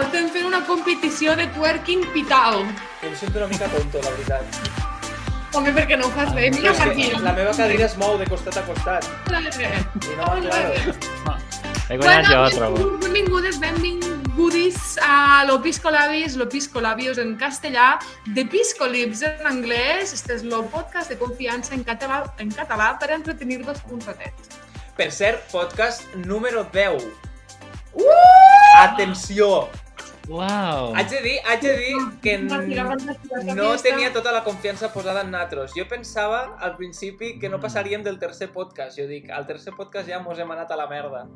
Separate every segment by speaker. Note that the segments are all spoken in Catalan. Speaker 1: Estem fent una competició de twerking pital.
Speaker 2: Em sento una mica tonto, la veritat.
Speaker 1: Home, perquè no ho fas bé. Mira
Speaker 2: És
Speaker 1: per aquí.
Speaker 2: que la meva cadira es mou de costat a costat. I no, claro.
Speaker 3: He guanyat jo, trobo.
Speaker 1: benvinguts, benvingudes, benvingudis a lo Piscolabis, lo Piscolabios en castellà, de Piscolips en anglès. Este és lo podcast de confiança en català, en català per entretenir-vos un ratet.
Speaker 2: Per cert, podcast número 10.
Speaker 1: Uh!
Speaker 2: Atenció!
Speaker 3: Uau!
Speaker 2: Haig de dir, haig de dir que n- no tenia tota la confiança posada en natros. Jo pensava al principi
Speaker 3: Mm.
Speaker 2: que no passaríem del tercer podcast. Jo dic, al tercer podcast ja mos hem anat a la merda.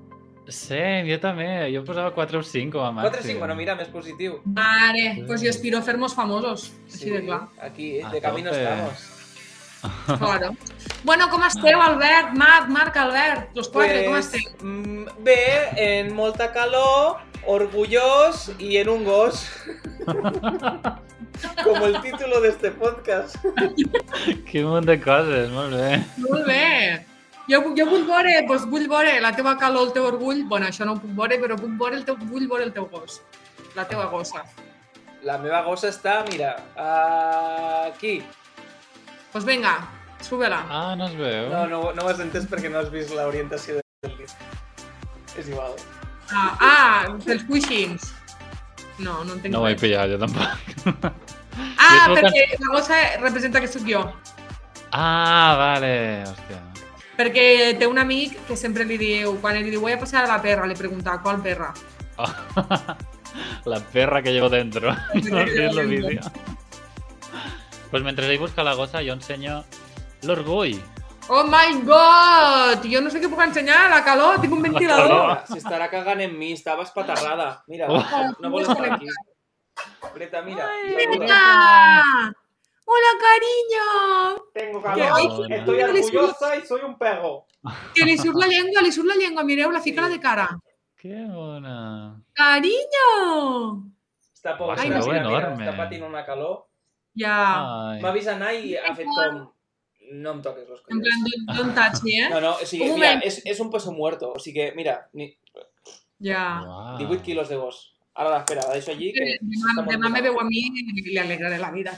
Speaker 3: Sí, jo també. Jo posava 4 o 5 com a màxim.
Speaker 2: 4 o 5, bueno, mira, més positiu.
Speaker 1: Mare, pues jo aspiro a fer-nos famosos, així de clar.
Speaker 2: Aquí,
Speaker 3: A
Speaker 2: de camino
Speaker 3: tope.
Speaker 2: estamos.
Speaker 1: Claro. Bueno, com esteu, Albert, Marc, Marc, Albert, los quatre, com esteu?
Speaker 2: mm, bé, en molta calor, orgullós i en un gos. Como el título de este podcast.
Speaker 3: Quin munt de coses, molt bé.
Speaker 1: Molt bé. Jo, jo vull veure, doncs vull veure la teva calor, el teu orgull. bueno, això no ho puc veure, però puc veure el teu, vull veure el teu gos. La teva gossa.
Speaker 2: La meva gossa està, mira, aquí.
Speaker 1: Doncs pues vinga, sube-la.
Speaker 3: Ah, no es veu?
Speaker 2: No, no, no ho has entès perquè no has vist l'orientació del dit. És igual.
Speaker 1: Ah, ah, dels cuixins. No, no entenc
Speaker 3: no ho he
Speaker 1: res.
Speaker 3: pillat, jo tampoc.
Speaker 1: Ah,
Speaker 3: Jo sóc
Speaker 1: perquè la gossa representa que sóc jo.
Speaker 3: Ah, vale. Hòstia.
Speaker 1: Perquè té un amic que sempre li diu, quan li diu voy a passar a la perra, li pregunta qual perra.
Speaker 3: Oh. La perra que llevo dentro. No has vist el vídeo. Pues mentre ell busca la gossa, jo ensenyo l'orgull.
Speaker 1: Oh my god! Jo no sé què puc ensenyar, la calor, tinc un ventilador.
Speaker 2: Mira, S'estarà cagant en mi, estava espaterrada. Mira,
Speaker 3: Oh.
Speaker 2: no vol estar aquí. Greta, mira. saluda.
Speaker 1: Venga! Hola, cariño!
Speaker 2: Tengo
Speaker 1: Que
Speaker 2: calor,
Speaker 3: hoy-
Speaker 2: estoy orgullosa y soy un perro.
Speaker 1: Que li surt la llengua, li surt la llengua, mireu, la fica la de cara.
Speaker 3: Que bona.
Speaker 1: Carinyo!
Speaker 2: Està pobre,
Speaker 1: Ai,
Speaker 2: mira,
Speaker 1: no.
Speaker 2: mira,
Speaker 3: Enorme.
Speaker 2: està patint una calor.
Speaker 1: Ja,
Speaker 3: Ai.
Speaker 2: M'ha vist anar i Ah, ha fet com... No em toques los
Speaker 1: en
Speaker 2: collons.
Speaker 1: plan, don't, don't touch me, eh?
Speaker 2: No, no, o sigui,
Speaker 1: Un
Speaker 2: mira,
Speaker 1: moment.
Speaker 2: és, és un peso muerto. O sigui, mira, ni-
Speaker 1: Ja.
Speaker 3: Uau.
Speaker 2: 18 quilos de gos. Ara, espera, la deixo allí. Que
Speaker 1: Demà,
Speaker 2: s'està
Speaker 1: demà
Speaker 2: molt
Speaker 1: me veu a mi i li alegraré la vida.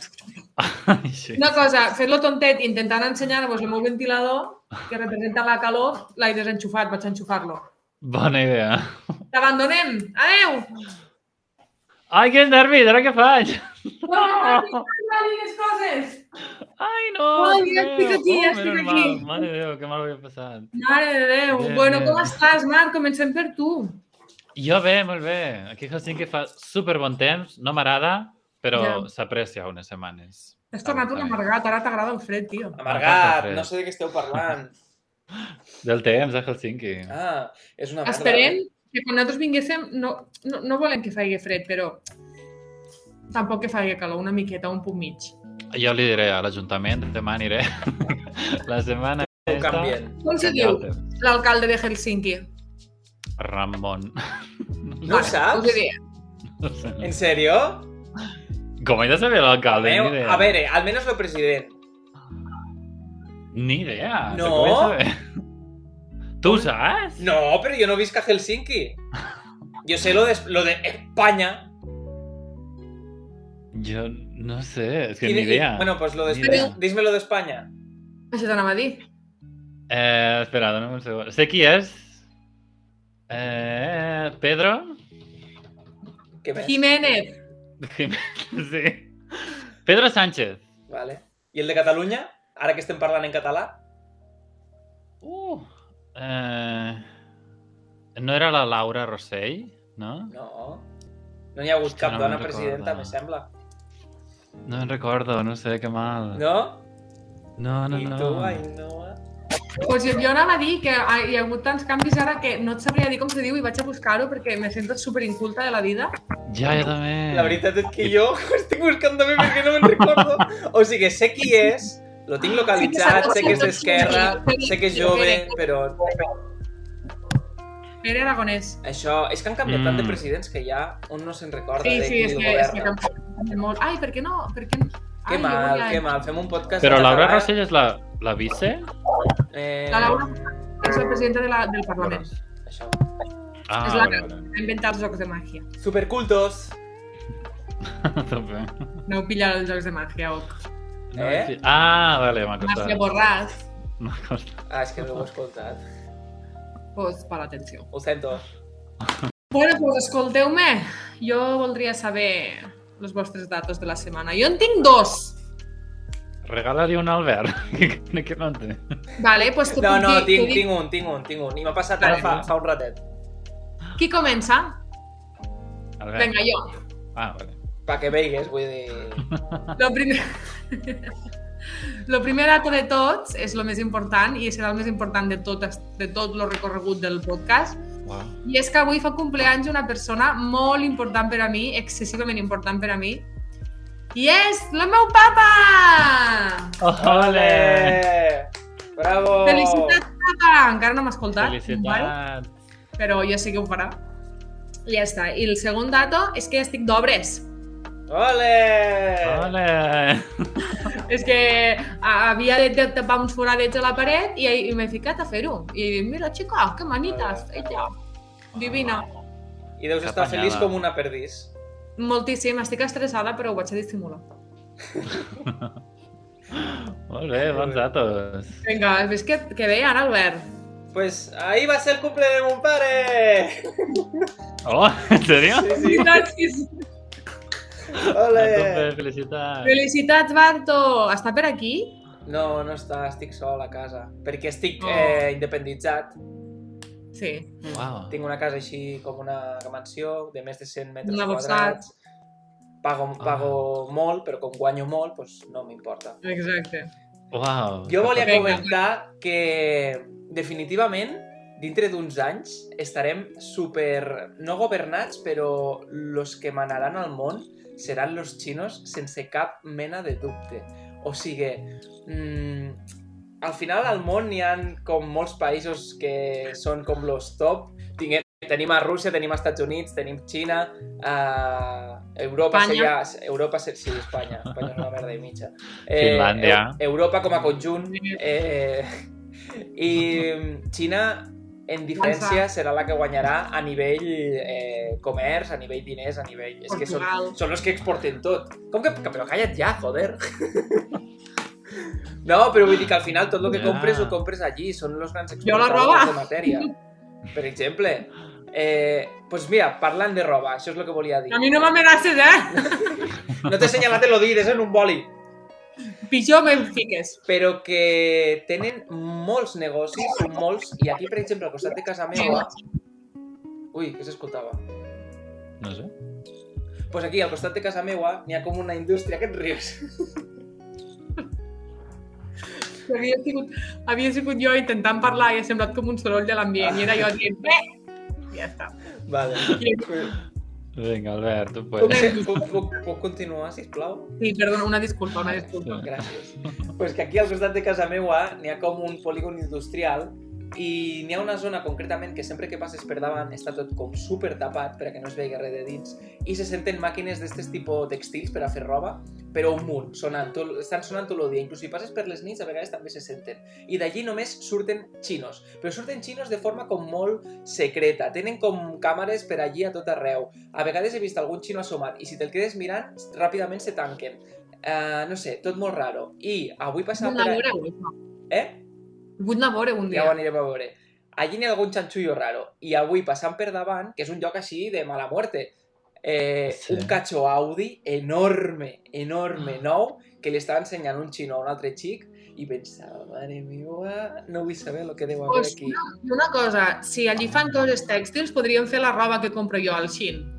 Speaker 3: Ai, sí.
Speaker 1: Una cosa, fent-lo tontet, intentant ensenyar-vos el meu ventilador que representa la calor, l'he desenxufat, vaig enxufar-lo.
Speaker 3: Bona idea.
Speaker 1: T'abandonem! Adeu!
Speaker 3: Ai, que nervis, ara què faig?
Speaker 1: No, no, no, no diguis coses!
Speaker 3: Ai, no!
Speaker 1: Ai,
Speaker 3: Déu.
Speaker 1: ja estic aquí, ja
Speaker 3: Oh,
Speaker 1: estic
Speaker 3: menys
Speaker 1: aquí.
Speaker 3: mal. Mare de Déu, que mal ho havia passat.
Speaker 1: Mare de Déu!
Speaker 3: Bé,
Speaker 1: bueno,
Speaker 3: bé.
Speaker 1: com estàs, Marc? Comencem per tu.
Speaker 3: Jo bé, molt bé. Aquí a Helsinki fa super bon temps, no m'agrada, però
Speaker 1: Ja.
Speaker 3: s'aprecia unes setmanes.
Speaker 1: T'has tornat un
Speaker 3: Aguanta bé.
Speaker 1: amargat, ara t'agrada el fred, tio.
Speaker 2: Amargat, no sé de què esteu parlant.
Speaker 3: Del temps eh, a Helsinki.
Speaker 2: Ah, és una merda.
Speaker 1: Esperem
Speaker 2: eh?
Speaker 1: que quan nosaltres vinguéssim, no, no, no volem que faci fred, però tampoc que faci calor, una miqueta, un punt mig.
Speaker 3: Jo li diré a l'Ajuntament, demà aniré. La setmana
Speaker 2: Ho canvien.
Speaker 1: Com se diu
Speaker 2: eh?
Speaker 1: l'alcalde de Helsinki?
Speaker 3: Ramon.
Speaker 2: No ho
Speaker 1: Us pues ho
Speaker 2: saps?
Speaker 1: diré.
Speaker 2: En serio?
Speaker 3: Com he de saber l'alcalde?
Speaker 2: Meu,
Speaker 3: Ni idea.
Speaker 2: a veure, almenys el president.
Speaker 3: Ni idea.
Speaker 2: No.
Speaker 3: Com he de saber? Tu ho saps?
Speaker 2: No, però jo no visc a Helsinki. Jo sé lo de, lo de España.
Speaker 3: Jo no sé, és que
Speaker 2: I de-
Speaker 3: ni idea.
Speaker 2: i- bueno, pues lo de
Speaker 3: Ni
Speaker 2: España.
Speaker 3: idea.
Speaker 2: Dísmelo de España.
Speaker 1: Això t'anava a dir.
Speaker 3: Eh, espera, dóna'm un segon. Sé qui és. Eh, Pedro?
Speaker 2: ¿Qué ves?
Speaker 1: Jiménez.
Speaker 3: Sí. Pedro Sánchez.
Speaker 2: Vale. I el de Catalunya? Ara que estem parlant en català?
Speaker 3: Uh. Eh, no era la Laura Rossell, no?
Speaker 2: No. No n'hi ha hagut
Speaker 3: Hòstia,
Speaker 2: cap
Speaker 3: no
Speaker 2: dona
Speaker 3: me'n
Speaker 2: presidenta,
Speaker 3: recordo.
Speaker 2: me sembla.
Speaker 3: No me'n recordo, no sé, que mal.
Speaker 2: No?
Speaker 3: no, no.
Speaker 2: I
Speaker 3: no.
Speaker 2: tu, Ainhoa?
Speaker 1: Pues jo, jo anava a dir que ha- hi ha hagut tants canvis ara que no et sabria dir com se diu i vaig a buscar-ho perquè me sento superinculta de la vida.
Speaker 3: Ja, jo també.
Speaker 2: La veritat és que jo estic buscant també perquè no me'n recordo. O sigui, sé qui és, lo
Speaker 1: Ah,
Speaker 2: tinc localitzat, sé que és d'esquerra, sé que és jove, però
Speaker 1: Pere Aragonès.
Speaker 2: això... És que han canviat tant de
Speaker 3: Mm.
Speaker 2: presidents que ja un no se'n recorda
Speaker 1: Sí,
Speaker 2: de
Speaker 1: sí,
Speaker 2: qui
Speaker 1: és
Speaker 2: el
Speaker 1: que, és que
Speaker 2: governa.
Speaker 1: canvia molt. Ai, per què no? Per què...
Speaker 2: Que
Speaker 1: Ai, jo
Speaker 2: mal,
Speaker 1: volia-
Speaker 2: que mal. Fem un podcast...
Speaker 3: Però
Speaker 2: en
Speaker 3: Laura
Speaker 2: català.
Speaker 3: Rossell és la, la vice?
Speaker 2: Eh,
Speaker 1: La Laura és la presidenta de la, del Parlament.
Speaker 2: Això.
Speaker 3: Ah,
Speaker 1: és la
Speaker 3: vale,
Speaker 1: que
Speaker 3: vale.
Speaker 1: va inventar els jocs de màgia.
Speaker 2: Supercultos.
Speaker 3: També.
Speaker 1: Aneu pillant els jocs de màgia, ok.
Speaker 2: Eh?
Speaker 3: Ah, vale, m'ha
Speaker 1: Màgia
Speaker 3: costat.
Speaker 1: borràs,
Speaker 3: M'ha costat.
Speaker 2: Ah, és que no ho he escoltat.
Speaker 1: doncs per l'atenció.
Speaker 2: Ho sento.
Speaker 1: Bueno, doncs escolteu-me, jo voldria saber els vostres datos de la setmana. Jo en tinc dos.
Speaker 3: Regala-li un Albert, que, que no en té.
Speaker 1: Vale, doncs que
Speaker 2: No,
Speaker 1: puc
Speaker 2: no,
Speaker 1: dir-
Speaker 2: tinc,
Speaker 1: que dic-
Speaker 2: tinc un, tinc un, tinc un. I m'ha passat
Speaker 1: Vale.
Speaker 2: ara fa, fa un ratet.
Speaker 1: Qui comença?
Speaker 3: Albert.
Speaker 1: Vinga, jo.
Speaker 3: Ah, vale.
Speaker 2: Pa que veigues, vull dir...
Speaker 1: Lo primer... Lo primer dato de tots és el més important i serà el més important de tot, de tot el recorregut del podcast.
Speaker 3: Wow.
Speaker 1: I és que avui fa compleanys una persona molt important per a mi, excessivament important per a mi, i és el meu papa!
Speaker 3: Ole!
Speaker 2: Bravo!
Speaker 1: Felicitats, papa! Encara no m'ha escoltat, vale?
Speaker 3: Felicitat.
Speaker 1: però ja sé que ho farà. I ja està. I el segon dato és que estic d'obres.
Speaker 2: Ole!
Speaker 3: Ole!
Speaker 1: És que a- havia de de tapar uns foradets a la paret i, i m'he ficat a fer-ho. I he dit, mira, xica, que manitas, ella. Divina.
Speaker 2: I deus
Speaker 3: Que
Speaker 2: estar
Speaker 3: apanyada.
Speaker 2: feliç com una perdís.
Speaker 1: Moltíssim, estic estressada, però ho vaig a dissimular.
Speaker 3: Molt bé, bons datos.
Speaker 1: Vinga, ves que, que bé, ara, Albert.
Speaker 2: Pues ahí va a ser el cumple de mon pare!
Speaker 3: Oh, en serio?
Speaker 2: Sí,
Speaker 1: Gràcies.
Speaker 2: sí.
Speaker 3: A tope,
Speaker 2: Ole!
Speaker 3: felicitats.
Speaker 1: Felicitats, Barto! Està per aquí?
Speaker 2: No, no està, estic sol a casa. Perquè estic
Speaker 1: Oh.
Speaker 2: eh, independitzat.
Speaker 1: Sí.
Speaker 3: Wow.
Speaker 2: Tinc una casa així com una mansió de més de 100 metres
Speaker 1: Una boxat.
Speaker 2: quadrats. Pago,
Speaker 3: Ah.
Speaker 2: pago molt, però com guanyo molt, doncs no m'importa.
Speaker 1: Exacte.
Speaker 3: Wow.
Speaker 2: Jo volia
Speaker 1: Vinga.
Speaker 2: comentar que definitivament dintre d'uns anys estarem super... no governats, però los que manaran al món seran los xinos sense cap mena de dubte. O sigui, mm, al final al món n'hi han com molts països que són com los top. Tinguem, tenim a Rússia, tenim a Estats Units, tenim Xina, a Europa
Speaker 1: Espanya.
Speaker 2: seria... Europa ser, sí, Espanya. Espanya és una merda i mitja. Eh,
Speaker 3: Finlàndia.
Speaker 2: Eu- Europa com a conjunt. Eh, I Xina, en diferència, serà la que guanyarà a nivell eh, comerç, a nivell diners, a nivell... És que són,
Speaker 1: Portugal.
Speaker 2: són els que exporten tot. Com que... que- Però calla't ja, joder. No, però vull dir que al final tot el que
Speaker 3: Ja.
Speaker 2: compres ho compres allí, són els grans
Speaker 1: Jo la
Speaker 2: exportadors
Speaker 1: roba.
Speaker 2: de matèria. Per exemple, eh, pues mira, parlant de roba, això és el que volia dir.
Speaker 1: A mi no m'amenaces, eh?
Speaker 2: No t'he assenyalat el dit, és en un boli.
Speaker 1: Pitjor me'n fiques.
Speaker 2: Però que tenen molts negocis, molts, i aquí, per exemple, al costat de casa meva... Ui, que s'escoltava.
Speaker 3: No sé.
Speaker 2: pues aquí, al costat de casa meua, n'hi ha com una indústria que et rius.
Speaker 1: Havia sigut, havia sigut jo intentant parlar i ha semblat com un soroll de l'ambient. I era jo dient, bé! I ja està.
Speaker 2: Vale.
Speaker 1: I-
Speaker 3: Vinga, Albert, tu
Speaker 2: Puc,
Speaker 3: puedes.
Speaker 2: puc, puc, puc continuar, sisplau?
Speaker 1: Sí, perdona, una disculpa, una disculpa.
Speaker 2: Gràcies. pues que aquí al costat de casa meua n'hi ha com un polígon industrial i n'hi ha una zona concretament que sempre que passes per davant està tot com super tapat perquè no es vegi res de dins i se senten màquines d'aquest tipus textils per a fer roba, però un munt, sonant, tot, estan sonant tot el dia. Inclús si passes per les nits a vegades també se senten. I d'allí només surten xinos, però surten xinos de forma com molt secreta. Tenen com càmeres per allí a tot arreu. A vegades he vist algun xino assomat i si te'l quedes mirant, ràpidament se tanquen. Uh, no sé, tot molt raro. I avui
Speaker 1: Vull
Speaker 2: passava...
Speaker 1: anar a veure un.
Speaker 2: Eh?
Speaker 1: Vull anar a veure un
Speaker 2: Ja
Speaker 1: dia.
Speaker 2: ho anirem a veure. Allí n'hi ha algun xanxullo raro. I avui, passant per davant, que és un lloc així de mala muerte, eh, sí.
Speaker 3: Sí.
Speaker 2: un catxo Audi enorme, enorme, nou, que li estava ensenyant un xino a un altre xic i pensava, mare meva, no vull saber el que deu haver aquí.
Speaker 1: Ostres. I una cosa, si allí fan coses tèxtils, podríem fer la roba que compro jo al Xin.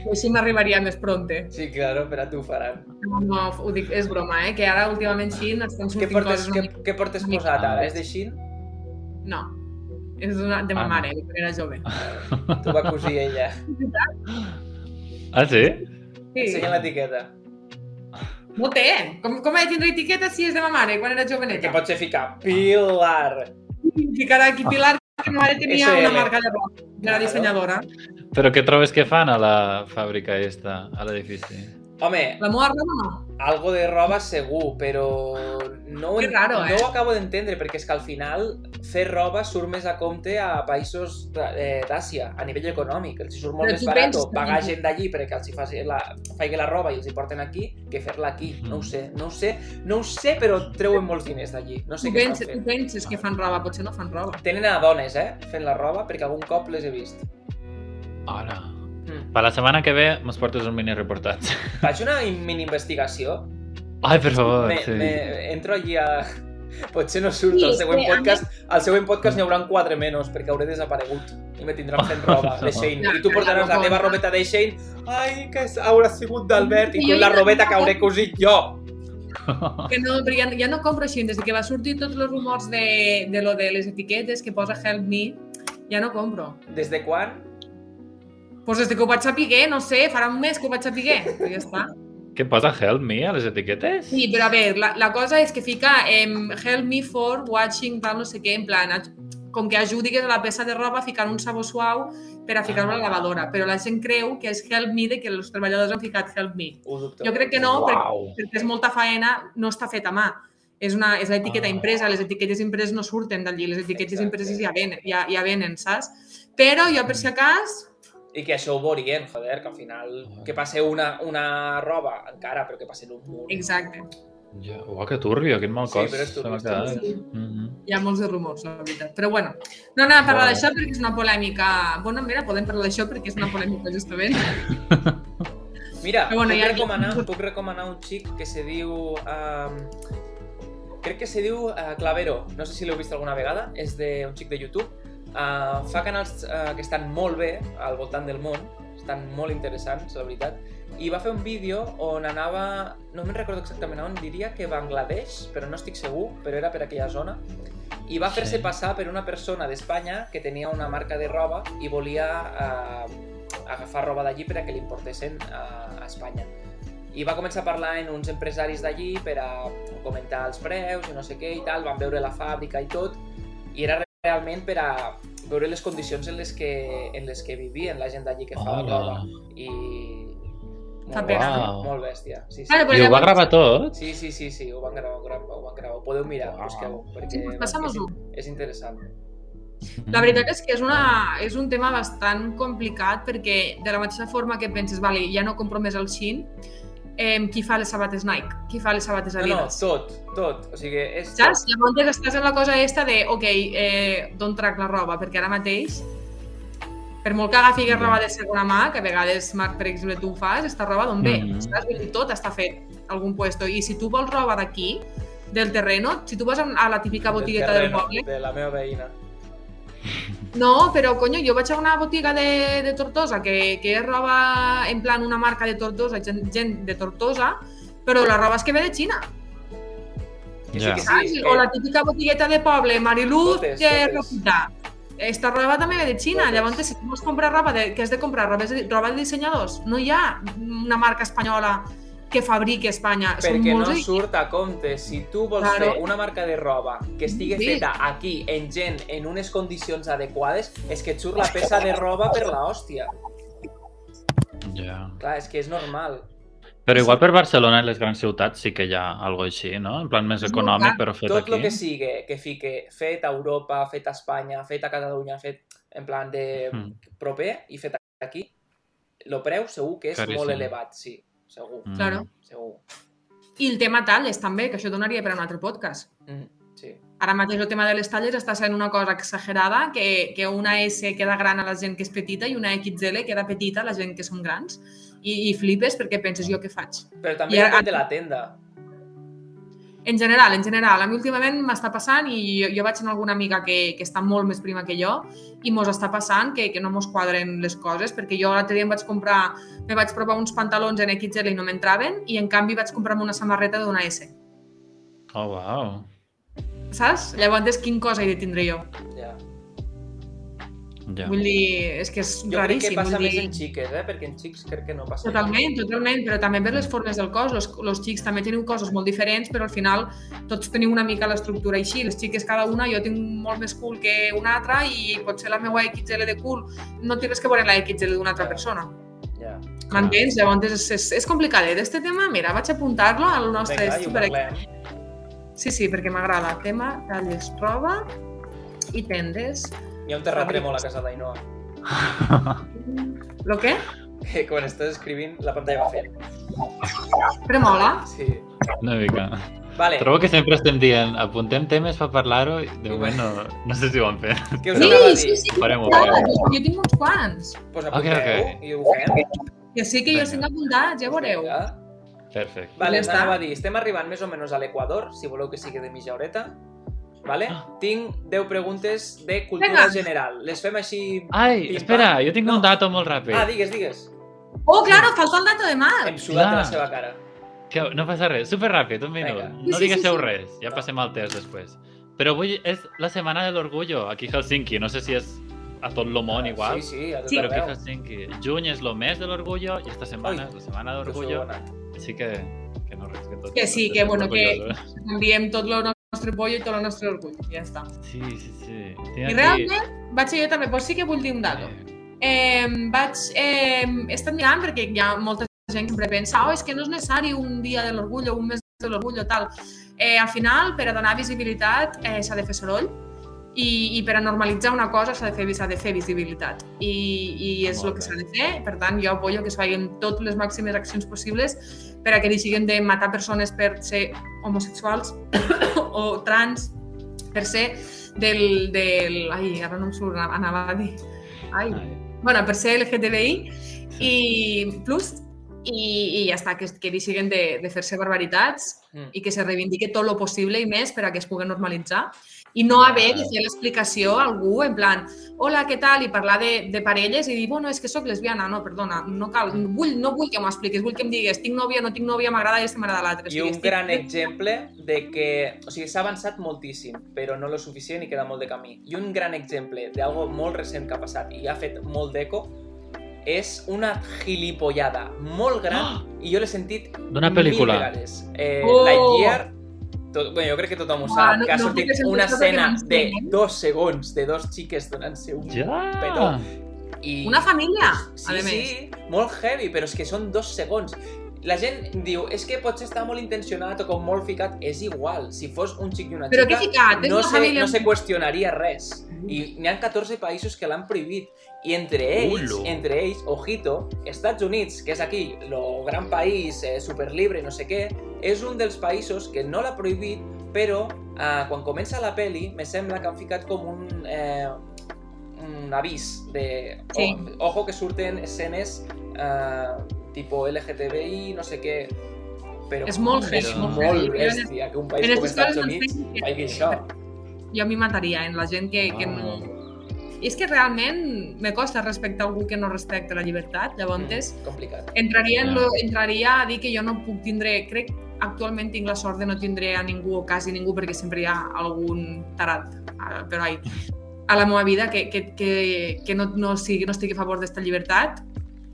Speaker 1: I així m'arribaria més prompte.
Speaker 2: Sí, claro, però tu ho faran.
Speaker 1: No, no, ho dic, és broma, eh? Que ara últimament Xin estan
Speaker 2: Què
Speaker 1: sortint
Speaker 2: portes,
Speaker 1: coses... una
Speaker 2: què,
Speaker 1: mica-
Speaker 2: què portes
Speaker 1: una mica.
Speaker 2: posat ara? És de xin?
Speaker 1: No, és una, de ma
Speaker 3: Ah, no.
Speaker 1: mare, quan era jove.
Speaker 2: T'ho va cosir ella.
Speaker 3: Ah, sí?
Speaker 1: Sí.
Speaker 2: Ensenya l'etiqueta.
Speaker 1: No té. eh? Com, com he de tindre etiqueta si és de ma mare, quan era
Speaker 2: Que
Speaker 1: joveneta?
Speaker 2: pot ser ficar Pilar.
Speaker 1: Ficarà aquí Pilar, que ma mare tenia
Speaker 2: SL.
Speaker 1: una marca de roba. Era dissenyadora.
Speaker 3: Però què trobes que fan a la fàbrica esta, a l'edifici?
Speaker 2: Home,
Speaker 1: La meva roba no.
Speaker 2: algo de roba segur, però no, ho
Speaker 1: Que
Speaker 2: en-
Speaker 1: raro, eh?
Speaker 2: no ho acabo d'entendre, perquè és que al final fer roba surt més a compte a països d'A- eh, d'Àsia, a nivell econòmic. Els hi surt molt
Speaker 1: Però
Speaker 2: més
Speaker 1: tu
Speaker 2: barat
Speaker 1: penses
Speaker 2: pagar
Speaker 1: també.
Speaker 2: gent d'allí perquè els hi faci la, faci la roba i els hi porten aquí que fer-la aquí. No ho sé, no ho sé, no ho sé, però treuen molts diners d'allí. No sé
Speaker 1: Tu
Speaker 2: què estan
Speaker 1: penses, tu
Speaker 2: fent.
Speaker 1: penses que fan roba, potser no fan roba.
Speaker 2: Tenen a dones, eh, fent la roba, perquè algun cop les he vist.
Speaker 3: Ara.
Speaker 2: Mm.
Speaker 3: Per la setmana que ve mos portes un mini reportatge.
Speaker 2: Faig una in- mini investigació.
Speaker 3: Ai, per favor,
Speaker 2: Me,
Speaker 3: sí.
Speaker 2: me, entro allí a... Potser no surt
Speaker 1: Sí,
Speaker 2: al següent
Speaker 1: és que a
Speaker 2: podcast. Al següent podcast n'hi haurà quatre menys, perquè hauré desaparegut i me tindran fent roba de Shane.
Speaker 1: No.
Speaker 2: I tu portaràs la teva robeta de Shane. Ai, que s- haurà sigut d'Albert i tu la robeta que
Speaker 1: eh?
Speaker 2: hauré cosit jo.
Speaker 3: Ah.
Speaker 1: Que no, però ja, ja no compro així, des que va sortir tots els rumors de, de lo de les etiquetes que posa Help Me, ja no compro.
Speaker 2: Des de quan?
Speaker 1: Pues des que ho vaig saber, no sé, farà un mes que ho vaig saber, però ja està.
Speaker 3: Què posa Help Me a les etiquetes?
Speaker 1: Sí, però a veure, la, la cosa és que fica em, help me for watching tal no sé què, en plan, aj- com que ajudi que la peça de roba a ficar un sabó suau per a ficar-ho a la lavadora, però la gent creu que és help me de que els treballadors han ficat help me.
Speaker 2: Ho dubto.
Speaker 1: Jo crec que no, perquè,
Speaker 3: Uau.
Speaker 1: perquè és molta faena, no està feta a mà. És, una, és l'etiqueta
Speaker 3: Ah.
Speaker 1: impresa, les etiquetes impreses no surten d'allí, les etiquetes
Speaker 2: Exacte.
Speaker 1: impreses ja venen, ja, ja venen, saps? Però jo, per si acas,
Speaker 2: I que això ho veurien, joder, que al final... Que passe una, una roba encara, però que passi en un mur.
Speaker 1: exacte,
Speaker 3: Ja, uau, que turbio, quin mal
Speaker 2: Sí,
Speaker 3: cos.
Speaker 2: però és turbio,
Speaker 3: se m'ha
Speaker 2: és
Speaker 3: quedat.
Speaker 2: turbio.
Speaker 3: Mhm.
Speaker 1: hi ha molts de rumors, la veritat. Però bueno, no anem a parlar
Speaker 3: Wow.
Speaker 1: d'això perquè és una polèmica... Bona, mira, podem parlar d'això perquè és una polèmica, justament.
Speaker 2: Mira,
Speaker 1: Però bueno,
Speaker 2: puc,
Speaker 1: ja-
Speaker 2: recomanar, puc recomanar un xic que se diu... Um, crec que se diu uh, Clavero, no sé si l'heu vist alguna vegada, és de, un xic de YouTube. Uh, fa canals uh, que estan molt bé al voltant del món, estan molt interessants, la veritat, i va fer un vídeo on anava, no me'n recordo exactament on, diria que Bangladesh, però no estic segur, però era per aquella zona, i va fer-se
Speaker 3: Sí.
Speaker 2: passar per una persona d'Espanya que tenia una marca de roba i volia eh, agafar roba d'allí per a que l'importessin eh, a, a Espanya. I va començar a parlar en uns empresaris d'allí per a comentar els preus i no sé què i tal, van veure la fàbrica i tot, i era realment per a veure les condicions en les que, en les que vivien la gent d'allí que fa la
Speaker 3: Hola.
Speaker 2: roba. I...
Speaker 1: Fa
Speaker 2: Molt
Speaker 1: pena.
Speaker 2: bèstia,
Speaker 3: Uau.
Speaker 2: molt bèstia. Sí, sí.
Speaker 1: Claro, però
Speaker 3: I ho va
Speaker 1: llavors-
Speaker 3: gravar tot?
Speaker 2: Sí, sí, sí, sí, ho van gravar, ho, gravar, ho van gravar. Ho podeu mirar,
Speaker 3: Uau.
Speaker 2: busqueu, perquè
Speaker 1: Sí, passamos
Speaker 2: és,
Speaker 1: un.
Speaker 2: és interessant.
Speaker 1: La veritat és que és, una, és un tema bastant complicat perquè de la mateixa forma que penses, vale, ja no compro més el xin, eh, qui fa les sabates Nike? Qui fa les sabates
Speaker 2: No, no,
Speaker 1: Adidas?
Speaker 2: tot, tot. O sigui, és... tot.
Speaker 1: Saps? Llavors estàs en la cosa esta de, ok, eh, d'on trac la roba? Perquè ara mateix, per molt que agafi
Speaker 3: Ja.
Speaker 1: roba de segona mà, que a vegades, Marc, per exemple, tu ho fas, esta roba d'on ve?
Speaker 2: Mm.
Speaker 3: Mhm.
Speaker 1: Saps? Vull dir, Tot està fet a algun puesto. I si tu vols roba d'aquí, del terreno, si tu vas a la típica
Speaker 2: Del
Speaker 1: botigueta del
Speaker 2: terreno,
Speaker 1: poble,
Speaker 2: De la meva veïna.
Speaker 1: No, però, coño, jo vaig a una botiga de, de Tortosa que, que és roba, en plan, una marca de Tortosa, gent, gent de Tortosa, però la roba és que ve de Xina,
Speaker 2: Que
Speaker 3: Ja.
Speaker 2: sí, que
Speaker 1: saps?
Speaker 2: sí,
Speaker 1: O
Speaker 2: que-
Speaker 1: la típica botigueta de poble, Mariluz,
Speaker 2: Totes,
Speaker 1: de
Speaker 2: totes.
Speaker 1: Rafita. Esta roba també ve de Xina,
Speaker 2: Totes.
Speaker 1: llavors si vols comprar roba, de, que has de comprar roba de, roba de dissenyadors, no hi ha una marca espanyola que fabriqui a Espanya. Són
Speaker 2: Perquè
Speaker 1: molts
Speaker 2: no
Speaker 1: i-
Speaker 2: surt a compte. Si tu vols
Speaker 1: Claro.
Speaker 2: fer una marca de roba que estigui
Speaker 1: Sí.
Speaker 2: feta aquí, en gent, en unes condicions adequades, és que et surt la peça de roba per la hòstia.
Speaker 3: Ja.
Speaker 2: Clar, és que és normal.
Speaker 3: Però igual per Barcelona i les grans ciutats sí que hi ha alguna així, no? En plan més
Speaker 1: Sí, clar.
Speaker 3: econòmic, però fet
Speaker 2: Tot el
Speaker 3: aquí.
Speaker 2: que sigue, que fique fet a Europa, fet a Espanya, fet a Catalunya, fet en plan de
Speaker 3: Mm.
Speaker 2: proper i fet aquí, el preu segur que és
Speaker 3: Caríssim.
Speaker 2: molt elevat, sí. Segur,
Speaker 3: Mm.
Speaker 1: Claro.
Speaker 2: segur.
Speaker 1: I el tema talles també, que això donaria per a un altre podcast.
Speaker 2: Mm, sí.
Speaker 1: Ara mateix el tema de les talles està sent una cosa exagerada, que, que una S queda gran a la gent que és petita i una XL queda petita a la gent que són grans. I, i flipes perquè penses jo què faig.
Speaker 2: Però també
Speaker 1: I
Speaker 2: I
Speaker 1: ara-
Speaker 2: depèn de la tenda.
Speaker 1: En general, en general, a mi últimament m'està passant i jo, jo vaig en alguna amiga que, que està molt més prima que jo i mos està passant que, que no mos quadren les coses perquè jo l'altre dia em vaig comprar, me vaig provar uns pantalons en XL i no m'entraven i en canvi vaig comprar-me una samarreta d'una S.
Speaker 3: Oh, wow.
Speaker 1: Saps? Llavors, quin cosa he de tindre jo?
Speaker 2: Ja.
Speaker 3: Ja.
Speaker 1: Vull dir, és que és
Speaker 2: Jo crec
Speaker 1: raríssim.
Speaker 2: que passa
Speaker 1: vull
Speaker 2: més
Speaker 1: dir...
Speaker 2: en xiques, eh? perquè en xics crec que no passa
Speaker 1: Totalment,
Speaker 2: tant.
Speaker 1: totalment, però també per les formes del cos. Los, los xics també teniu coses molt diferents, però al final tots teniu una mica l'estructura així. Les xiques cada una, jo tinc molt més cul que una altra i potser la meva XL de cul no té res que veure amb la XL d'una altra persona.
Speaker 2: Ja.
Speaker 1: M'entens? Llavors és, és, és complicadet. Este tema, mira, vaig apuntar-lo al nostre
Speaker 2: Vinga, i ho
Speaker 1: estudi per aquí.
Speaker 2: parlem.
Speaker 1: Sí, sí, perquè m'agrada. Tema talles roba i tendes.
Speaker 2: Hi ha un terratrèmol a casa d'Ainoa.
Speaker 1: Lo què?
Speaker 2: Que quan estàs escrivint, la pantalla va fent.
Speaker 1: Tremola.
Speaker 2: Sí.
Speaker 3: Una mica.
Speaker 2: Vale,
Speaker 3: Trobo que sempre estem dient, apuntem temes per parlar-ho i de moment no, no sé si ho han fet.
Speaker 2: què us
Speaker 1: Sí,
Speaker 2: anava a
Speaker 1: sí,
Speaker 2: dir?
Speaker 1: sí.
Speaker 3: Farem-ho
Speaker 1: clar,
Speaker 3: bé.
Speaker 1: jo, jo tinc uns quants.
Speaker 2: Pues
Speaker 3: Ok,
Speaker 2: apunteu
Speaker 3: ok.
Speaker 2: i ho fem.
Speaker 1: Que sí que jo els tinc apuntats, ja veureu.
Speaker 2: Vinga.
Speaker 3: Perfecte.
Speaker 2: Vale,
Speaker 1: Ja està.
Speaker 2: anava a dir, estem arribant més o menys a l'Equador, si voleu que sigui de mitja horeta. Vale? Tinc 10 preguntes de cultura
Speaker 1: Ah. Vinga.
Speaker 2: general. Les fem així...
Speaker 3: Ai,
Speaker 2: Pim,
Speaker 3: espera,
Speaker 2: pam.
Speaker 3: jo tinc
Speaker 2: No.
Speaker 3: un dato molt ràpid.
Speaker 2: Ah, digues, digues.
Speaker 1: Oh, claro, falta el dato de mar.
Speaker 2: Hem sudat a la
Speaker 3: clar.
Speaker 2: seva cara.
Speaker 3: Que no passa res, super ràpid, un minut.
Speaker 2: Vinga.
Speaker 1: Sí,
Speaker 3: No
Speaker 1: sí,
Speaker 3: diguéssiu
Speaker 1: sí, sí.
Speaker 3: res, ja passem al test després. Però avui és la setmana de l'orgullo, aquí a Helsinki. No sé si és a tot el món igual,
Speaker 2: Ah, Sí, sí, a tot
Speaker 1: Sí.
Speaker 3: però aquí a
Speaker 2: arreu.
Speaker 3: Helsinki. Juny és el mes de l'orgullo i esta setmana és la setmana
Speaker 2: Que sou
Speaker 3: d'orgullo.
Speaker 2: bona.
Speaker 3: Així que, que no res, que tot.
Speaker 1: Que sí,
Speaker 3: tot
Speaker 1: que
Speaker 3: estem
Speaker 1: bueno, que-
Speaker 3: orgullosos.
Speaker 1: Enviem tot el nostre pollo i tot el nostre orgull. Ja està.
Speaker 3: Sí, sí, sí.
Speaker 1: I
Speaker 3: Tinc
Speaker 1: realment vaig jo també, però sí que vull dir un dato.
Speaker 3: aquí...
Speaker 1: Eh, vaig, eh, he estat mirant perquè hi ha molta gent que sempre pensa oh, és que no és necessari un dia de l'orgull o un mes de l'orgull o tal. Eh, al final, per a donar visibilitat eh, s'ha de fer soroll i, i per a normalitzar una cosa s'ha de, fer- s'ha de fer visibilitat i, i és el
Speaker 3: Molt
Speaker 1: que
Speaker 3: bé.
Speaker 1: s'ha de fer. Per tant, jo apoyo que es facin totes les màximes accions possibles per a que deixin de matar persones per ser homosexuals o trans, per ser del... del ai, ara no em surt, anava a dir... Ai,
Speaker 3: Ai,
Speaker 1: bueno, per ser LGTBI i plus, i, i ja està, que, que deixin de, de fer-se barbaritats
Speaker 2: Mm.
Speaker 1: i que se reivindique tot lo possible i més per a que es pugui normalitzar i no haver de fer l'explicació a algú en plan, hola, què tal, i parlar de, de parelles i dir, bueno, és que sóc lesbiana, no, perdona, no cal, no vull, no vull que m'ho expliquis, vull que em digues, tinc nòvia, no tinc nòvia, m'agrada i este m'agrada l'altre. O
Speaker 2: I
Speaker 1: sigui,
Speaker 2: un
Speaker 1: estic-
Speaker 2: gran exemple de que... O sigui, s'ha avançat moltíssim, però no lo suficient i queda molt de camí. I un gran exemple d'algo molt recent que ha passat i ha fet molt d'eco és una gilipollada molt
Speaker 3: Ah.
Speaker 2: gran i jo l'he sentit
Speaker 3: D'una pel·lícula.
Speaker 2: mil vegades. Eh,
Speaker 1: Oh!
Speaker 2: Lightyear, tot, bueno, jo crec que tothom ho
Speaker 1: Buah,
Speaker 2: sap,
Speaker 1: no-
Speaker 2: que ha
Speaker 1: no
Speaker 2: sortit
Speaker 1: tinc sentit
Speaker 2: una
Speaker 1: això perquè
Speaker 2: escena
Speaker 1: m'ensenyen.
Speaker 2: de dos segons de dos xiques donant-se un...
Speaker 3: Ja!
Speaker 2: Petó. I...
Speaker 1: Una família,
Speaker 2: Sí,
Speaker 1: a més.
Speaker 2: sí, molt heavy, però és que són dos segons. La gent diu, és que potser està molt intencionat o com molt ficat, és igual. Si fos un xic i una
Speaker 1: Però què
Speaker 2: xica,
Speaker 1: he ficat? És
Speaker 2: no,
Speaker 1: una
Speaker 2: se,
Speaker 1: família...
Speaker 2: no se qüestionaria res. I n'hi ha 14 països que l'han prohibit. I entre ells,
Speaker 3: Ulo.
Speaker 2: entre ells, ojito, Estats Units, que és aquí, el gran país, eh, superlibre, no sé què, és un dels països que no l'ha prohibit, però eh, quan comença la peli, me sembla que han ficat com un, eh, un avís de
Speaker 1: Sí.
Speaker 2: o- ojo que surten escenes eh, tipo LGTBI, no sé què, però
Speaker 1: És molt
Speaker 2: és
Speaker 3: heavy,
Speaker 2: molt,
Speaker 3: molt
Speaker 1: heavy.
Speaker 2: bèstia que un país
Speaker 1: En
Speaker 2: com
Speaker 1: les
Speaker 2: Estats
Speaker 1: escoles
Speaker 2: Units
Speaker 1: m'ensenyen
Speaker 2: faci això.
Speaker 1: jo m'hi mataria en la gent que,
Speaker 2: Ah.
Speaker 1: que no... I és que realment me costa respectar algú que no respecta la llibertat, llavors
Speaker 2: Mm, complicat.
Speaker 1: entraria, en
Speaker 3: Ja.
Speaker 1: lo,
Speaker 2: Mm.
Speaker 1: entraria a dir que jo no puc tindre, crec actualment tinc la sort de no tindré a ningú o quasi ningú perquè sempre hi ha algun tarat, ah, però ai, a la meva vida que, que, que, que no, no, sigui, no estigui a favor d'esta llibertat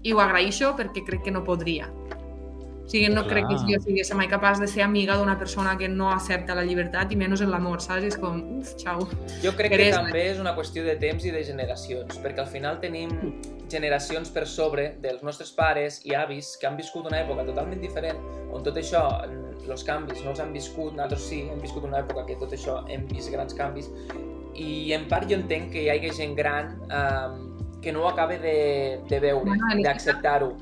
Speaker 1: i ho agraeixo perquè crec que no podria. O sigui, no
Speaker 3: Clar.
Speaker 1: crec que jo sigui mai capaç de ser amiga d'una persona que no accepta la llibertat i menys en l'amor, saps? És com, uf, xau.
Speaker 2: Jo crec que
Speaker 1: Eres-
Speaker 2: també és una qüestió de temps i de generacions, perquè al final tenim generacions per sobre dels nostres pares i avis que han viscut una època totalment diferent, on tot això, els canvis no els han viscut, nosaltres sí, hem viscut una època que tot això hem vist grans canvis, i en part jo entenc que hi hagi gent gran eh, que no ho acabe de, de veure,
Speaker 1: Bueno, en
Speaker 2: d'acceptar-ho.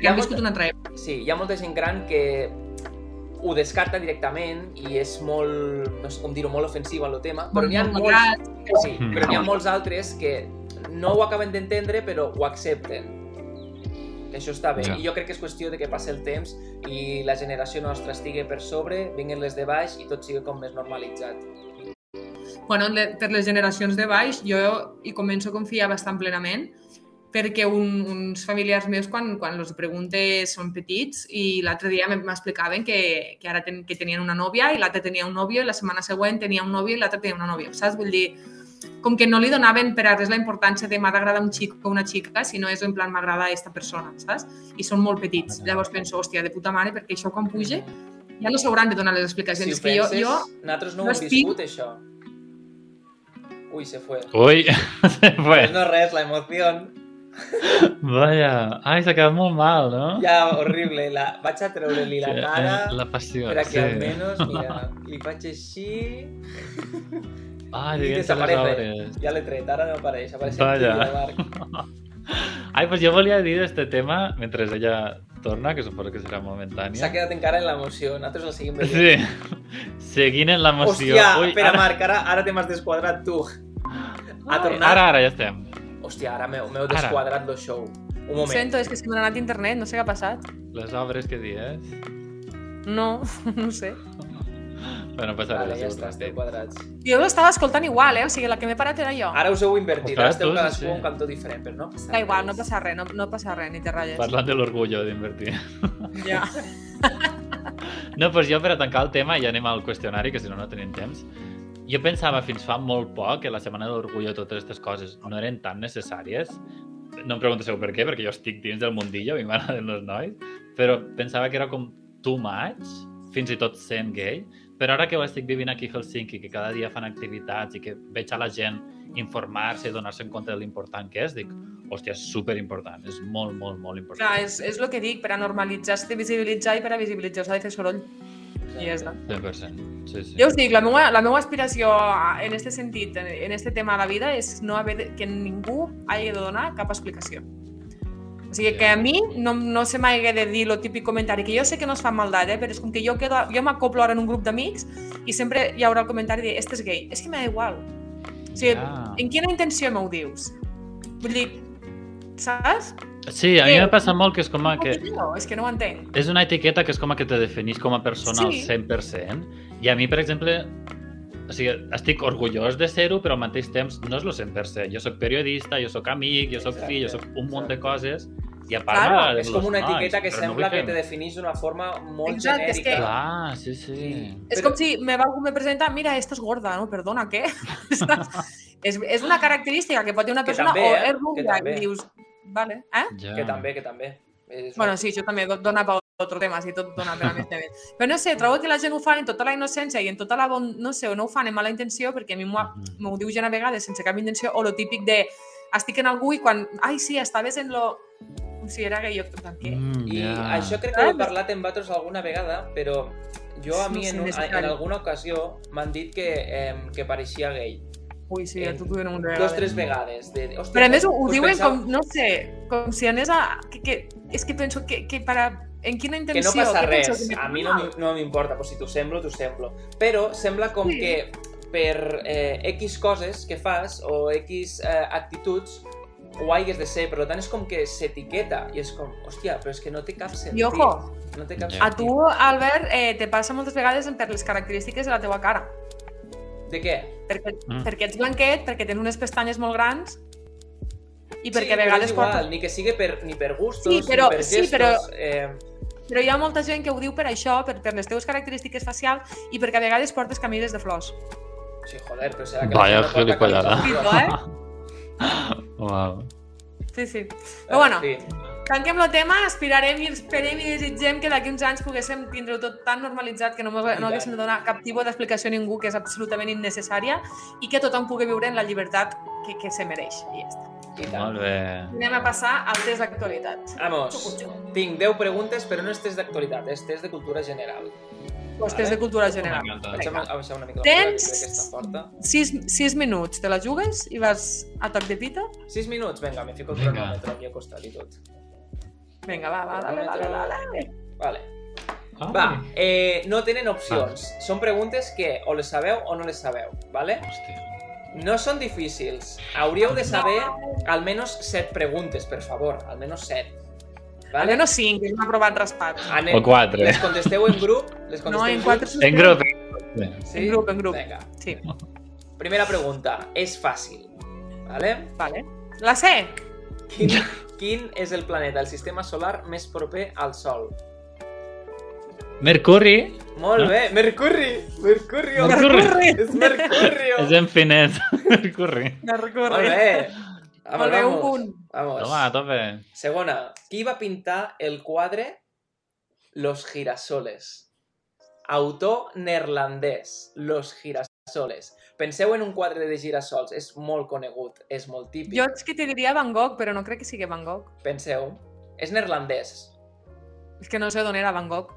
Speaker 1: Que han viscut una altra època.
Speaker 2: Sí, hi ha molta gent gran que ho descarta directament i és molt, no sé com dir-ho, molt ofensiva el tema, però n'hi ha molts,
Speaker 1: malgrat,
Speaker 2: Sí,
Speaker 3: Mm.
Speaker 2: però n'hi ha molts altres que no ho acaben d'entendre, però ho accepten. Que això està bé.
Speaker 3: Ja.
Speaker 2: I jo crec que és qüestió de que passi el temps i la generació nostra estigui per sobre, vinguin les de baix i tot sigui com més normalitzat.
Speaker 1: bueno, le- per les generacions de baix, jo hi començo a confiar bastant plenament, perquè un, uns familiars meus, quan, quan els preguntes, són petits, i l'altre dia m- m'explicaven que, que ara ten, que tenien una nòvia, i l'altre tenia un nòvio, i la setmana següent tenia un nòvio, i l'altre tenia una nòvia, saps? Vull dir, com que no li donaven per a res la importància de m'ha d'agradar un xic o una xica, sinó és en plan m'agrada aquesta persona, saps? I són molt petits.
Speaker 2: Ah.
Speaker 1: Llavors penso, hòstia, de puta mare, perquè això quan puja ja no s'hauran de donar les
Speaker 2: Si
Speaker 1: explicacions.
Speaker 2: ho
Speaker 1: és eh, que jo,
Speaker 2: penses,
Speaker 1: jo,
Speaker 2: nosaltres no ho
Speaker 1: no
Speaker 2: hem
Speaker 1: estic-
Speaker 2: viscut, això. Ui, se fue. Ah.
Speaker 3: Ui, se fue.
Speaker 2: Pues no res, la emoció.
Speaker 3: Vaya, ai, s'ha quedat molt mal, no?
Speaker 2: Ja, horrible. La... Vaig a treure-li la cara
Speaker 3: eh, la passió,
Speaker 2: per a que
Speaker 3: sí.
Speaker 2: almenys, mira, li faig així...
Speaker 3: Ah,
Speaker 2: I
Speaker 3: diguem-te les
Speaker 2: desaparece.
Speaker 3: obres.
Speaker 2: Ja l'he tret, ara no apareix, apareix
Speaker 3: Vaya.
Speaker 2: aquí a l'arc.
Speaker 3: Ai, pues jo volia dir este tema mentre ella torna, que suposo que serà momentània.
Speaker 2: S'ha quedat encara en l'emoció, nosaltres la seguim veient.
Speaker 3: Sí. Seguint en l'emoció.
Speaker 2: Hòstia, espera,
Speaker 3: ara,
Speaker 2: Marc, ara, ara te m'has desquadrat tu. Ha
Speaker 3: ai,
Speaker 2: tornat.
Speaker 3: Ara, ara, ja estem.
Speaker 2: Hòstia, ara m'heu m'heu
Speaker 3: Ara.
Speaker 2: desquadrat lo show. Un
Speaker 1: Ho
Speaker 2: moment.
Speaker 1: sento, és que se m'ha anat internet, no sé què ha passat.
Speaker 3: Les obres que dies.
Speaker 1: No, no ho sé.
Speaker 3: Bueno, pues
Speaker 2: Vale,
Speaker 3: passaré vale,
Speaker 2: ja
Speaker 3: la
Speaker 2: està, esteu
Speaker 3: següent.
Speaker 2: quadrats.
Speaker 1: Jo l'estava escoltant igual, eh? O sigui, la que m'he parat era jo.
Speaker 2: Ara us heu invertit,
Speaker 3: Estàs
Speaker 2: ara esteu
Speaker 3: tu,
Speaker 2: cadascú
Speaker 3: sí.
Speaker 2: a un cantó diferent, però no passa
Speaker 1: Da igual, no
Speaker 2: res.
Speaker 1: passa res, no, no passa res, ni te ratlles.
Speaker 3: Parlant de l'orgullo d'invertir.
Speaker 1: Ja.
Speaker 3: No, doncs jo per a tancar el tema i anem al qüestionari, que si no, no tenim temps. Jo pensava fins fa molt poc que la Setmana de l'Orgullo totes aquestes coses no eren tan necessàries. No em pregunteu per què, perquè jo estic dins del mundillo, a mi m'agraden els nois, però pensava que era com too much, fins i tot sent gay, però ara que ho estic vivint aquí a Helsinki, que cada dia fan activitats i que veig a la gent informar-se i donar-se en compte de l'important que és, dic, hòstia, és superimportant, és molt, molt, molt important.
Speaker 1: Clar, és, és el que dic, per a normalitzar s'ha de visibilitzar i per a visibilitzar s'ha de fer soroll. I ja està.
Speaker 3: 100%. Sí, sí.
Speaker 1: Jo us dic, la meva, la meva aspiració a- en este sentit, en- en este tema de la vida, és no haver de, que ningú hagi de donar cap explicació. O sigui, que a mi no, no se m'hagi de dir el típic comentari, que jo sé que no es fa maldat, eh? però és com que jo, quedo, jo m'acoplo ara en un grup d'amics i sempre hi haurà el comentari de «este és gay». És que m'ha igual. O sigui,
Speaker 3: Ja.
Speaker 1: en quina intenció m'ho dius? Vull dir, saps?
Speaker 3: Sí, a mi
Speaker 1: Què?
Speaker 3: m'ha passat molt que és com a que...
Speaker 1: No, és que no ho entenc.
Speaker 3: És una etiqueta que és com a que te definís com a persona
Speaker 1: Sí.
Speaker 3: al 100%. I a mi, per exemple, o sigui, estic orgullós de ser-ho, però al mateix temps no és el 100%. Jo sóc periodista, jo sóc amic, jo sóc
Speaker 2: Exacte,
Speaker 3: fill, jo sóc un munt de
Speaker 2: exacte.
Speaker 3: coses. I a part
Speaker 1: Claro,
Speaker 3: m'agraden
Speaker 2: És com
Speaker 3: els
Speaker 2: una
Speaker 3: nois,
Speaker 2: etiqueta que
Speaker 3: però
Speaker 2: sembla
Speaker 3: vull
Speaker 2: que
Speaker 3: fer-
Speaker 2: te definís d'una forma molt
Speaker 1: Exacte, és que-
Speaker 2: genèrica.
Speaker 3: Clar, sí, sí.
Speaker 2: Sí.
Speaker 1: Es
Speaker 2: Pero-
Speaker 1: como si me va algú me presenta, mira, esta es gorda, no? Perdona, ¿qué? es, es una característica que pot tenir una
Speaker 2: Que
Speaker 1: persona
Speaker 2: també,
Speaker 1: o
Speaker 2: eh?
Speaker 1: és
Speaker 2: Que
Speaker 1: rubia
Speaker 2: també.
Speaker 1: i dius, vale, eh?
Speaker 3: Ja.
Speaker 2: Que també, que també. És
Speaker 1: Bueno, sí, això també do- dona per otro tema, si tot dona per a més temes. Però no sé, trobo que la gent ho fa en tota la innocència i en tota la bon... no sé, o no ho fan en mala intenció, perquè a mi m'ho ha-
Speaker 3: Mhm.
Speaker 1: m'ho diu gent a vegades sense cap intenció, o lo típic de estic en algú i quan, ai, sí, estaves en lo... Com si era que jo, què?
Speaker 3: Mm,
Speaker 2: I
Speaker 3: ja.
Speaker 2: això crec
Speaker 1: Ah,
Speaker 2: que ho he parlat amb vosaltres alguna vegada, però jo a
Speaker 1: No
Speaker 2: mi
Speaker 1: sé,
Speaker 2: en, un,
Speaker 1: necessari.
Speaker 2: en alguna ocasió m'han dit que, eh, que pareixia gay.
Speaker 1: Ui, sí, ja t'ho diuen un
Speaker 2: Eh, Dos, tres vegades. De, "Hòstia,
Speaker 1: Però a més ho, ho
Speaker 2: us
Speaker 1: diuen
Speaker 2: penseu
Speaker 1: com, no sé, com si anés a... Que, que, és que penso que, que per a, en quina
Speaker 2: Que
Speaker 1: intenció...
Speaker 2: no passa
Speaker 1: què penso,
Speaker 2: res,
Speaker 1: que
Speaker 2: a mi no, m'hi- no m'importa, però si t'ho semblo, t'ho semblo. Però sembla com
Speaker 1: Sí.
Speaker 2: que per eh, X coses que fas o X eh, actituds ho hagués de ser, per tant és com que s'etiqueta i és com, hòstia, però és que no té cap sentit.
Speaker 1: I ojo,
Speaker 2: no té cap
Speaker 3: Ja.
Speaker 1: a tu, Albert, eh, te passa moltes vegades per les característiques de la teua cara.
Speaker 2: De què?
Speaker 1: Perquè,
Speaker 3: Mm.
Speaker 1: mm. perquè ets blanquet, perquè tens unes pestanyes molt grans i perquè
Speaker 2: sí,
Speaker 1: a vegades...
Speaker 2: Però és igual, ni que sigui per, ni per gustos,
Speaker 1: Sí, però-
Speaker 2: ni per
Speaker 1: sí,
Speaker 2: gestos.
Speaker 1: però-
Speaker 2: Eh,
Speaker 1: però hi ha molta gent que ho diu per això, per, per les teues característiques facials i perquè a vegades portes camises de flors.
Speaker 2: sí, joder, però serà que...
Speaker 3: Vaya
Speaker 2: la gent no porta
Speaker 3: gilipollada.
Speaker 2: camisa.
Speaker 1: Fito, eh?
Speaker 3: Uau.
Speaker 1: Sí, sí. Però bueno,
Speaker 2: Sí.
Speaker 1: Tanquem el tema, aspirarem i esperem i desitgem que d'aquí uns anys poguéssim tindre-ho tot tan normalitzat que no, mos- no haguéssim de donar cap tipus d'explicació a ningú que és absolutament innecessària i que tothom pugui viure en la llibertat que, que se mereix. I ja està.
Speaker 2: I tant.
Speaker 3: Molt bé.
Speaker 1: Anem a passar al test d'actualitat.
Speaker 2: Vamos, tinc 10 preguntes, però no és test d'actualitat, és test de cultura general.
Speaker 1: Pues test de cultura general.
Speaker 3: M'encanta.
Speaker 2: Vaig a
Speaker 1: Vinga.
Speaker 2: a baixar una mica la
Speaker 1: Tens-
Speaker 2: música, que aquesta forta.
Speaker 1: Sis, sis minuts, te la jugues i vas a toc de pita?
Speaker 2: 6 minuts, vinga, me fico el
Speaker 3: Vinga.
Speaker 2: cronòmetre aquí al costat i tot.
Speaker 1: Vinga, va, va, dale, dale, dale.
Speaker 2: Vale.
Speaker 3: Ai.
Speaker 2: Va, eh, no tenen opcions. Són preguntes que o les sabeu o no les sabeu, vale?
Speaker 3: Hòstia.
Speaker 2: No són difícils. Hauríeu de saber almenys 7 preguntes, per favor. Almenys 7.
Speaker 1: Vale,
Speaker 2: Vale?
Speaker 1: no cinc, que m'ha provat raspat.
Speaker 2: Anem.
Speaker 3: O quatre.
Speaker 2: Les contesteu en grup? Les contesteu
Speaker 1: No, en
Speaker 2: grup?
Speaker 1: quatre...
Speaker 3: En grup.
Speaker 2: Sí?
Speaker 1: en grup, en grup.
Speaker 2: Vinga.
Speaker 1: Sí,
Speaker 2: Primera pregunta. És fàcil. Vale?
Speaker 1: vale. La C.
Speaker 2: Quin, quin és el planeta del sistema solar més proper al Sol?
Speaker 3: Mercuri
Speaker 2: Molt bé, Mercuri! Mercurio!
Speaker 3: Mercuri.
Speaker 2: És Mercurio!
Speaker 3: és en finès. Mercuri.
Speaker 1: No recordo.
Speaker 2: Molt bé! Vamos,
Speaker 1: Molt bé, un
Speaker 2: vamos.
Speaker 1: punt.
Speaker 2: Vamos.
Speaker 3: Toma, a tope.
Speaker 2: Segona. Qui va pintar el quadre Los girasoles? Autor neerlandès. Los girasoles. Penseu en un quadre de girassols, és molt conegut, és molt típic.
Speaker 1: Jo és que te diria Van Gogh, però no crec que sigui Van Gogh.
Speaker 2: Penseu, és neerlandès.
Speaker 1: És que no sé d'on era Van Gogh.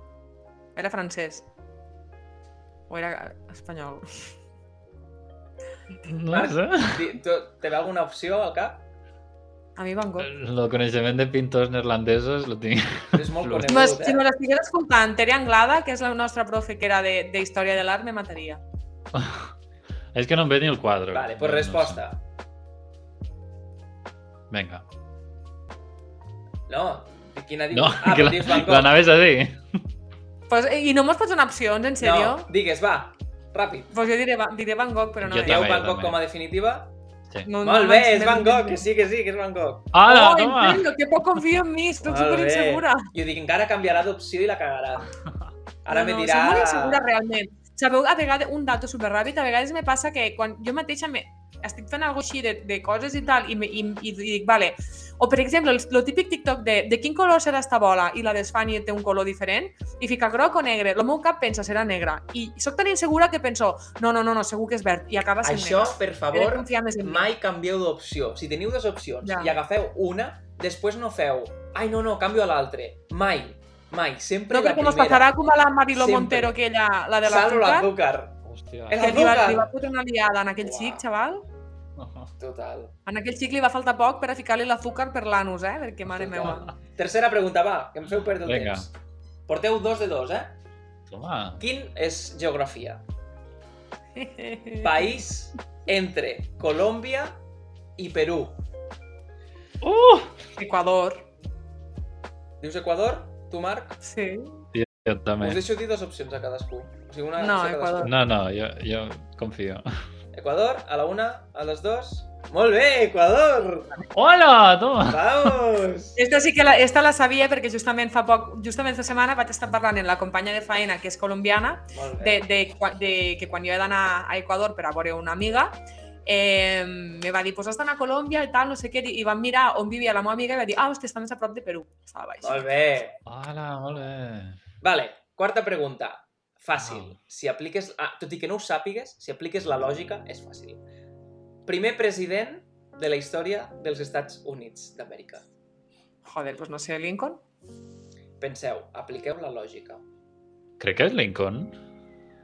Speaker 1: Era francès. O era espanyol.
Speaker 3: No sé.
Speaker 2: Di- tu- Te ve alguna opció al cap?
Speaker 1: A mi Van
Speaker 2: Eh,
Speaker 1: Gogh.
Speaker 3: El coneixement de pintors neerlandesos lo tinc.
Speaker 2: És molt
Speaker 3: Flor.
Speaker 1: No, és,
Speaker 2: conegut, eh?
Speaker 1: si me l'estigués escoltant, Tere Anglada, que és la nostra profe que era de, de Història de l'Art, me mataria.
Speaker 3: És que no em ve ni el quadre.
Speaker 2: Vale,
Speaker 3: No-
Speaker 2: pues
Speaker 3: no
Speaker 2: resposta.
Speaker 3: sé. Vinga.
Speaker 2: No, quina dius?
Speaker 3: No,
Speaker 2: ah,
Speaker 3: que
Speaker 2: però
Speaker 3: la-
Speaker 2: dius Van Gogh.
Speaker 3: l'anaves a dir.
Speaker 1: Pues, I no mos pots donar opcions, en sèrio?
Speaker 2: No, digues, va, ràpid.
Speaker 1: Pues jo diré, Va- diré Van Gogh, però no
Speaker 3: Jo
Speaker 1: és.
Speaker 2: Dieu
Speaker 3: també,
Speaker 2: Van Gogh
Speaker 3: també.
Speaker 2: com a definitiva?
Speaker 1: No, no
Speaker 2: Molt bé,
Speaker 1: me'n-
Speaker 2: és Van
Speaker 1: me'n-
Speaker 2: Gogh, que sí, que sí, que és Van Gogh.
Speaker 3: Hola,
Speaker 1: oh,
Speaker 3: toma!
Speaker 1: En serio, que poc confio en mi, estic
Speaker 2: Molt
Speaker 1: super
Speaker 2: bé.
Speaker 1: insegura.
Speaker 2: Jo dic, encara canviarà d'opció i la cagarà. Ara
Speaker 1: no,
Speaker 2: me
Speaker 1: no,
Speaker 2: dirà...
Speaker 1: Soc molt insegura, realment. Sabeu, a vegades, un dato superràpid, a vegades me passa que quan jo mateixa me, estic fent alguna així de, de coses i tal, i, me- i, i, i dic, vale, o per exemple, el, el típic TikTok de de quin color serà esta bola i la desfan i té un color diferent, i fica groc o negre, el meu cap pensa serà negre, i sóc tan insegura que penso, no, no, no, no segur que és verd, i acaba sent
Speaker 2: Això,
Speaker 1: negre.
Speaker 2: per
Speaker 1: He de
Speaker 2: favor,
Speaker 1: confiar més en mi.
Speaker 2: mai canvieu d'opció. Si teniu dues opcions
Speaker 1: Ja.
Speaker 2: i agafeu una, després no feu... Ai, no, no, canvio a l'altre. Mai, mai. Sempre
Speaker 1: No
Speaker 2: la
Speaker 1: crec que
Speaker 2: primera.
Speaker 1: mos passarà com a la Mariló
Speaker 2: Sempre.
Speaker 1: Montero, aquella, la de la
Speaker 2: Salvo
Speaker 1: Zucca,
Speaker 2: l'azúcar.
Speaker 3: Hòstia.
Speaker 2: És
Speaker 1: que li va,
Speaker 2: l'azúcar.
Speaker 1: li va fotre una liada en aquell
Speaker 2: Uah.
Speaker 1: xic, xaval.
Speaker 2: Total.
Speaker 1: En aquell xic li va faltar poc per a ficar-li l'azúcar per l'anus, eh? Perquè, mare
Speaker 2: Total.
Speaker 1: meva.
Speaker 2: Tercera pregunta, va, que em feu perdre el
Speaker 3: Vinga.
Speaker 2: temps. Porteu dos de dos, eh?
Speaker 3: Toma.
Speaker 2: Quin és geografia? País entre Colòmbia i Perú.
Speaker 3: Uh!
Speaker 1: Ecuador.
Speaker 2: Dius Equador? Tu, Marc?
Speaker 1: Sí.
Speaker 3: Jo també.
Speaker 2: Us deixo dir dues opcions a cadascú. O sigui, una
Speaker 1: No,
Speaker 2: opció a cadascú.
Speaker 3: No, no, jo, jo confio.
Speaker 2: Equador, a la una, a les dos... Molt bé, Equador!
Speaker 3: Hola, toma!
Speaker 2: Vamos!
Speaker 1: Esta sí que la, esta la sabia perquè justament fa poc, justament fa setmana vaig estar parlant amb la companya de faena, que és colombiana,
Speaker 2: Molt bé.
Speaker 1: de, de, quan- de que quan jo he d'anar a Ecuador per a veure una amiga, eh, me va dir, pues has d'anar a Colòmbia i tal, no sé què, i vam mirar on vivia la meva amiga i va dir, ah, hòstia, està més a prop de Perú. Estava baix.
Speaker 2: Molt bé.
Speaker 3: Hola, molt bé.
Speaker 2: Vale, quarta pregunta. Fàcil.
Speaker 3: Wow.
Speaker 2: Si apliques... Ah, tot i que no ho sàpigues, si apliques la lògica, és fàcil. Primer president de la història dels Estats Units d'Amèrica.
Speaker 1: Joder, pues no sé, Lincoln.
Speaker 2: Penseu, apliqueu la lògica.
Speaker 3: Crec que és Lincoln.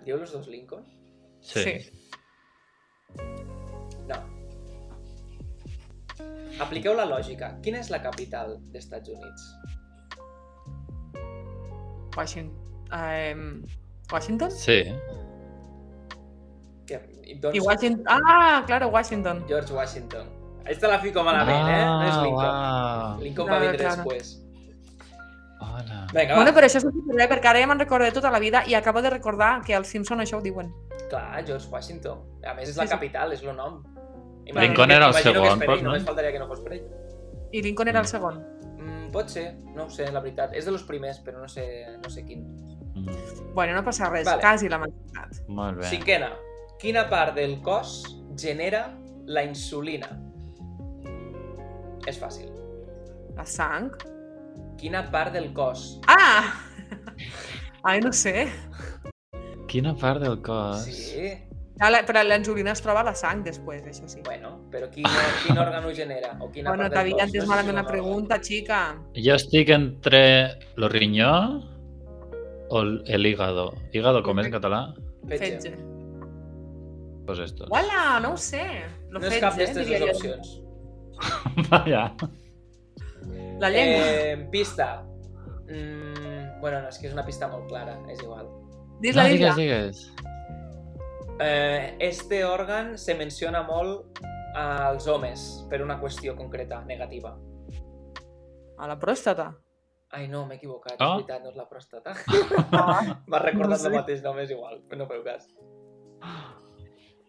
Speaker 2: Diu los dos Lincoln?
Speaker 3: Sí.
Speaker 1: Sí.
Speaker 2: No. Apliqueu la lògica. Quina és la capital d'Estats Units?
Speaker 1: Washington. Eh, Washington?
Speaker 3: Sí.
Speaker 2: Que, doncs,
Speaker 1: I Washington... Ah, claro, Washington.
Speaker 2: George Washington. Esta la fico malament, eh?
Speaker 3: Ah,
Speaker 2: No és Lincoln.
Speaker 3: Uau.
Speaker 2: Lincoln
Speaker 1: No,
Speaker 2: va vindre
Speaker 1: claro.
Speaker 2: després.
Speaker 3: Hola.
Speaker 2: Vinga, va.
Speaker 1: Bueno, però això és superbé, perquè ara ja me'n recordo de tota la vida i acabo de recordar que els Simpson això ho diuen.
Speaker 2: Clar, George Washington. A més, és la
Speaker 1: Sí, sí.
Speaker 2: capital, és el nom.
Speaker 1: Lincoln
Speaker 2: que-
Speaker 3: era el
Speaker 2: imagino que és
Speaker 3: segon,
Speaker 2: per
Speaker 3: però
Speaker 2: ell,
Speaker 3: no?
Speaker 2: Només faltaria que no fos per ell.
Speaker 1: I Lincoln era el segon.
Speaker 2: Mm, pot ser, no ho sé, la veritat. És de los primers, però no sé, no sé quin.
Speaker 3: Mm,
Speaker 1: Bueno, no passa res,
Speaker 2: Vale.
Speaker 1: quasi la meitat.
Speaker 3: Molt bé.
Speaker 2: Cinquena. Quina part del cos genera la insulina? És fàcil.
Speaker 1: La sang.
Speaker 2: Quina part del cos?
Speaker 1: Ah! Ai, no sé.
Speaker 3: Quina part del cos?
Speaker 2: Sí,
Speaker 1: Ja, la, però l'ensulina es troba a la sang després, això sí.
Speaker 2: bueno, però quin, quin òrgan ho genera? O quina
Speaker 1: Bueno,
Speaker 2: part del
Speaker 1: t'havia
Speaker 2: cos?
Speaker 1: entès
Speaker 2: sé si
Speaker 1: malament
Speaker 2: un
Speaker 1: la
Speaker 2: òrgan.
Speaker 1: pregunta, xica.
Speaker 3: Jo estic entre lo rinyó o el el hígado. Hígado, com és en català?
Speaker 2: Fetge.
Speaker 1: Fetge.
Speaker 3: Pues esto.
Speaker 1: Uala, no ho sé. Lo
Speaker 2: No és
Speaker 1: fetge,
Speaker 2: cap
Speaker 1: eh,
Speaker 2: d'aquestes
Speaker 1: diria
Speaker 2: dues
Speaker 1: jo.
Speaker 2: opcions.
Speaker 3: Vaja.
Speaker 1: La llengua.
Speaker 2: Eh, pista. Mm, bueno, no, és que és una pista molt clara, és igual.
Speaker 1: Dis
Speaker 3: No,
Speaker 1: la llengua.
Speaker 3: digues, digues.
Speaker 2: Eh, este òrgan se menciona molt als homes per una qüestió concreta, negativa.
Speaker 1: A la pròstata.
Speaker 2: Ai, no, m'he equivocat,
Speaker 3: Ah.
Speaker 2: és veritat, no és la pròstata.
Speaker 1: Ah,
Speaker 2: M'ha recordat
Speaker 1: No sé.
Speaker 2: el mateix nom, és igual, no feu cas.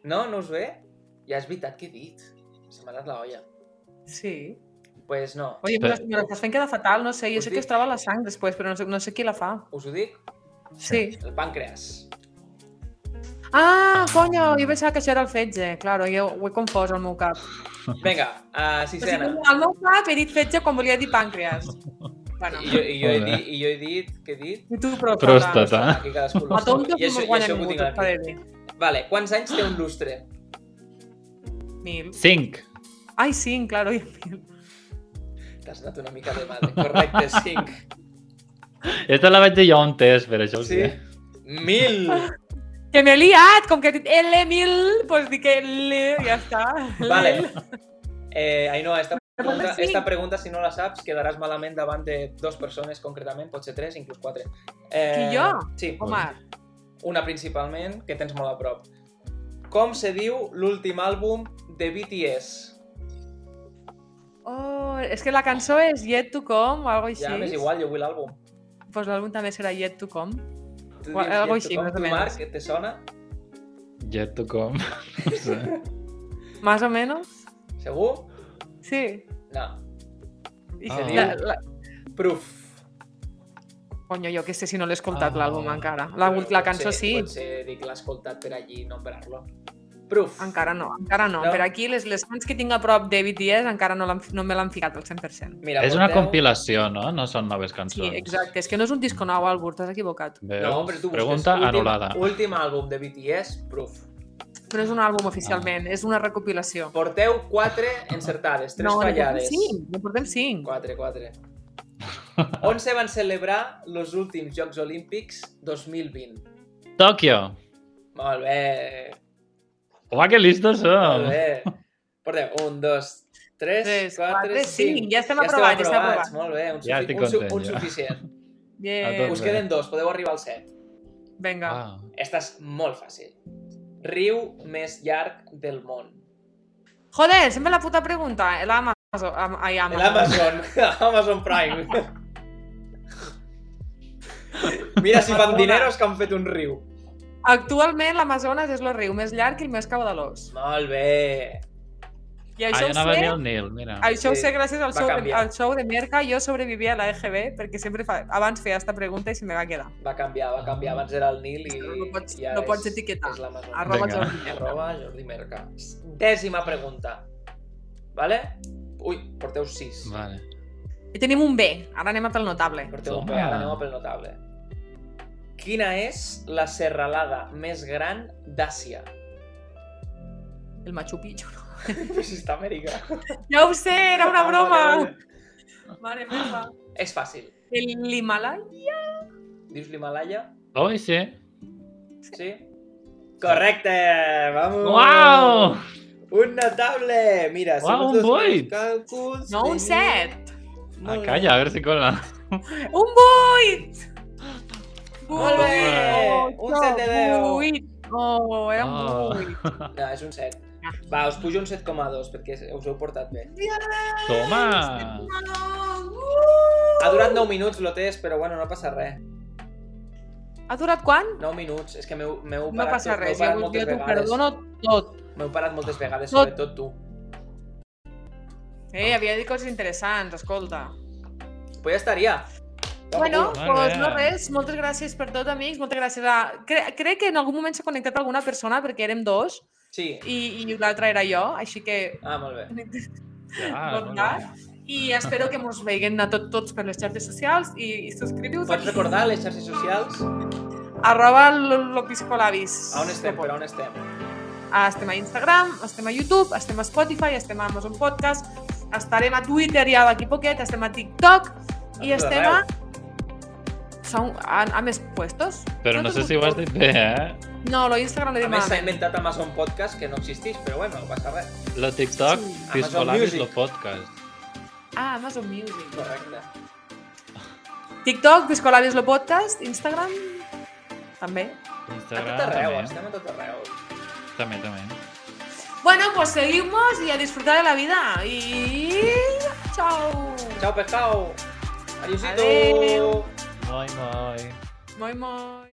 Speaker 2: No, no us ve? Ja és veritat que he dit. Se m'ha anat la olla.
Speaker 1: sí.
Speaker 2: Doncs pues no,
Speaker 1: Oye,
Speaker 3: Però-
Speaker 1: però... me l'estàs fent quedar fatal, no sé. Jo
Speaker 2: Us
Speaker 1: sé
Speaker 2: dic-
Speaker 1: que es troba a la sang després, però no sé, no sé qui la fa.
Speaker 2: us ho dic,
Speaker 1: Sí.
Speaker 2: el pàncreas.
Speaker 1: Ah, coño, jo pensava que això era el fetge. Claro, jo ho he confós al meu cap.
Speaker 2: Vinga, a
Speaker 1: O sigui,
Speaker 2: sisena.
Speaker 1: al meu cap he dit fetge quan volia dir pàncreas. Bueno,
Speaker 2: I jo, i jo, he,
Speaker 3: Molt bé.
Speaker 2: dit, i jo he dit, què he dit?
Speaker 1: i tu pròstata.
Speaker 3: Pròstata.
Speaker 2: Aquí cadascú
Speaker 1: A
Speaker 2: lo sap.
Speaker 1: tontos
Speaker 2: I
Speaker 1: no
Speaker 2: això,
Speaker 1: me'l
Speaker 2: i
Speaker 1: guanya
Speaker 2: això ho
Speaker 1: ningú,
Speaker 2: tinc
Speaker 1: t'ho
Speaker 2: aquí.
Speaker 1: de dir.
Speaker 2: Vale, quants anys té un lustre?
Speaker 1: Mil.
Speaker 3: Cinc.
Speaker 1: Ai, cinc, claro, i mil.
Speaker 2: T'has anat una mica de madre. Correcte, 5.
Speaker 3: Esta la vaig dir jo a un test, per això ho
Speaker 2: Sí?
Speaker 3: sé.
Speaker 2: 1.000!
Speaker 1: Que m'he liat, com que he dit L1000, doncs dic L, ja està.
Speaker 2: Vale. Eh, Ainhoa, esta pregunta,
Speaker 1: només cinc.
Speaker 2: esta pregunta, si no la saps, quedaràs malament davant de dues persones concretament, potser tres, inclús quatre. Eh,
Speaker 1: Qui, jo?
Speaker 2: Sí,
Speaker 1: Home,
Speaker 2: una principalment, que tens molt a prop. Com se diu l'últim àlbum de BTS?
Speaker 1: oh, és que la cançó és Yet to Come o algo així.
Speaker 2: Ja, m'és igual, jo vull l'àlbum.
Speaker 1: Pues l'àlbum també serà Yet to Come.
Speaker 2: Tu
Speaker 1: Ua,
Speaker 2: dius,
Speaker 1: algo
Speaker 2: i
Speaker 1: així,
Speaker 2: tothom,
Speaker 1: més o
Speaker 2: tu,
Speaker 1: menys.
Speaker 2: Marc, te sona?
Speaker 3: Ja tu com? No sé.
Speaker 1: Más o menos.
Speaker 2: Segur?
Speaker 1: Sí.
Speaker 2: No.
Speaker 1: I
Speaker 3: Ah.
Speaker 1: la, la,
Speaker 2: Proof.
Speaker 1: Coño, jo que sé si no l'he escoltat
Speaker 3: Ah.
Speaker 1: l'àlbum encara. La, la cançó sí.
Speaker 2: Potser dic l'ha escoltat per allí nombrar-lo. Proof.
Speaker 1: Encara no, encara no.
Speaker 2: No?
Speaker 1: Per aquí, les, les fans que tinc a prop de BTS encara no, l'han- no me l'han ficat al 100%.
Speaker 2: Mira,
Speaker 3: És una
Speaker 2: porteu-
Speaker 3: compilació, no? No són noves
Speaker 1: Sí,
Speaker 3: cançons.
Speaker 1: exacte. És que no és un disco nou, Albert, t'has equivocat.
Speaker 3: Veus?
Speaker 2: No, però tu busques
Speaker 3: Pregunta
Speaker 2: últim,
Speaker 3: anul·lada.
Speaker 2: Últim àlbum de BTS, Proof.
Speaker 1: No és un àlbum oficialment, és una recopilació.
Speaker 2: Porteu 4 encertades, 3
Speaker 1: no, n'hi
Speaker 2: fallades.
Speaker 1: portem cinc, n'hi portem cinc.
Speaker 2: 4, 4. On se van celebrar els últims Jocs Olímpics 2020?
Speaker 3: Tòquio.
Speaker 2: Molt bé.
Speaker 3: Home, que listos som.
Speaker 2: Molt bé. Porteu, un, dos, tres,
Speaker 1: Tres,
Speaker 2: quatre,
Speaker 1: quatre,
Speaker 2: cinc.
Speaker 1: cinc. Ja estem aprovats, ja estem aprovats.
Speaker 2: Molt bé, un,
Speaker 3: Ja
Speaker 2: sufi
Speaker 3: estic
Speaker 2: un, su-
Speaker 3: content,
Speaker 2: un
Speaker 3: ja.
Speaker 2: suficient.
Speaker 3: A tot.
Speaker 1: Yeah.
Speaker 2: Us queden dos, podeu arribar al set.
Speaker 1: Vinga.
Speaker 3: Ah.
Speaker 2: Esta és molt fàcil. Riu més llarg del món.
Speaker 1: Joder, sempre la puta pregunta. El Amazon. Am- Ai, Amazon.
Speaker 2: L'Amazon. Amazon Prime. Mira si fan dineros que han fet un riu.
Speaker 1: Actualment l'Amazones és el riu més llarg i el més caudalós.
Speaker 2: Molt bé.
Speaker 1: I
Speaker 3: Ah,
Speaker 1: això
Speaker 3: jo
Speaker 1: ho
Speaker 3: anava a
Speaker 1: sé,
Speaker 3: dir el Nil, mira.
Speaker 1: això ho
Speaker 2: Sí,
Speaker 1: sé gràcies al
Speaker 2: va
Speaker 1: show, de,
Speaker 2: canviar.
Speaker 1: al show de Merca. Jo sobrevivia a la EGB perquè sempre fa, abans feia aquesta pregunta i se me va quedar.
Speaker 2: Va canviar, va canviar. Abans era el Nil i,
Speaker 1: No pots-
Speaker 2: i ara
Speaker 1: no pots
Speaker 2: és-
Speaker 1: etiquetar.
Speaker 2: És l'Amazon.
Speaker 1: Arroba
Speaker 3: Vinga.
Speaker 1: Jordi Merca.
Speaker 2: Arroba Jordi Merca. Dècima pregunta. Vale? Ui, porteu sis.
Speaker 3: Vale.
Speaker 1: I tenim un B. Ara anem a pel notable.
Speaker 2: Porteu un
Speaker 3: Toma.
Speaker 2: P, ara anem a pel notable. Quina és la serralada més gran d'Àsia?
Speaker 1: El Machu Picchu.
Speaker 2: Però si està a Amèrica.
Speaker 1: Ja ho sé, era una
Speaker 2: Ah,
Speaker 1: broma.
Speaker 2: vale, vale.
Speaker 1: Mare meva.
Speaker 2: És fàcil.
Speaker 1: L'Himalaya?
Speaker 2: Dius l'Himalaya?
Speaker 3: Oi, sí.
Speaker 2: Sí? Correcte! Vamos!
Speaker 3: Uau!
Speaker 2: Un notable! Mira,
Speaker 3: Uau,
Speaker 2: segons
Speaker 3: un
Speaker 2: els meus
Speaker 3: vuit.
Speaker 2: càlculs...
Speaker 1: No, un
Speaker 2: tenim-
Speaker 1: 7.
Speaker 3: Ah,
Speaker 2: Molt
Speaker 3: calla, a veure si cola.
Speaker 1: Un 8!
Speaker 2: Molt bé! Un set de deu.
Speaker 1: 8. Oh, era un
Speaker 3: Ah.
Speaker 1: 8.
Speaker 2: bé. No, és un 7.
Speaker 1: Ah.
Speaker 2: Va, us pujo un 7,2 perquè us heu portat bé. Ah.
Speaker 3: Toma!
Speaker 2: Ha durat 9 minuts el test, però bueno, no passa res.
Speaker 1: Ha durat quant?
Speaker 2: 9 minuts, és que m'heu m'heu
Speaker 1: No
Speaker 2: parat,
Speaker 1: passa
Speaker 2: tot- m'heu
Speaker 1: res,
Speaker 2: parat
Speaker 1: jo,
Speaker 2: moltes
Speaker 1: jo t'ho
Speaker 2: vegades.
Speaker 1: perdono tot.
Speaker 2: M'heu parat moltes vegades,
Speaker 1: Tot.
Speaker 2: sobretot tu.
Speaker 1: Eh, havia dit coses interessants, escolta.
Speaker 2: Pues ja estaria.
Speaker 1: Bueno,
Speaker 3: Molt
Speaker 1: doncs
Speaker 3: bé.
Speaker 1: no res, moltes gràcies per tot, amics, moltes gràcies a... Cre crec que en algun moment s'ha connectat alguna persona perquè érem dos
Speaker 2: Sí.
Speaker 1: i, i l'altra era jo, així que...
Speaker 2: Ah, molt bé.
Speaker 3: Ja, molt
Speaker 1: Tornar.
Speaker 3: bé.
Speaker 1: I espero que mos veguin a tot, tots per les xarxes socials i, i subscriviu-vos
Speaker 2: Pots recordar les xarxes socials?
Speaker 1: arroba l'opiscolabis.
Speaker 2: A on estem, però on estem?
Speaker 1: Ah, estem a Instagram, estem a YouTube, estem a Spotify, estem a Amazon Podcast, estarem a Twitter ja d'aquí poquet, estem a TikTok i
Speaker 2: A tot
Speaker 1: estem a...
Speaker 2: arreu.
Speaker 1: Són a, a més puestos?
Speaker 3: Però no sé si ho has dit bé, eh?
Speaker 1: No, lo Instagram l'he
Speaker 2: A
Speaker 1: dit
Speaker 2: més, s'ha
Speaker 1: malament.
Speaker 2: inventat Amazon Podcast, que no existeix, però bueno, no passa res.
Speaker 3: Lo TikTok,
Speaker 1: Sí.
Speaker 3: Piscolabis,
Speaker 2: Music.
Speaker 3: lo podcast.
Speaker 1: Ah, Amazon Music.
Speaker 2: Correcte.
Speaker 1: TikTok, Piscolabis lo podcast, Instagram també.
Speaker 2: A
Speaker 3: Instagram,
Speaker 2: tot arreu, eh?
Speaker 3: també.
Speaker 2: estem a tot arreu.
Speaker 3: També, també.
Speaker 1: Bueno, pues seguimos y a disfrutar de la vida. Y... Chao.
Speaker 2: Chao, pescao. Adiosito.
Speaker 1: Adeu.
Speaker 3: Moi, moi.
Speaker 1: Moi, moi.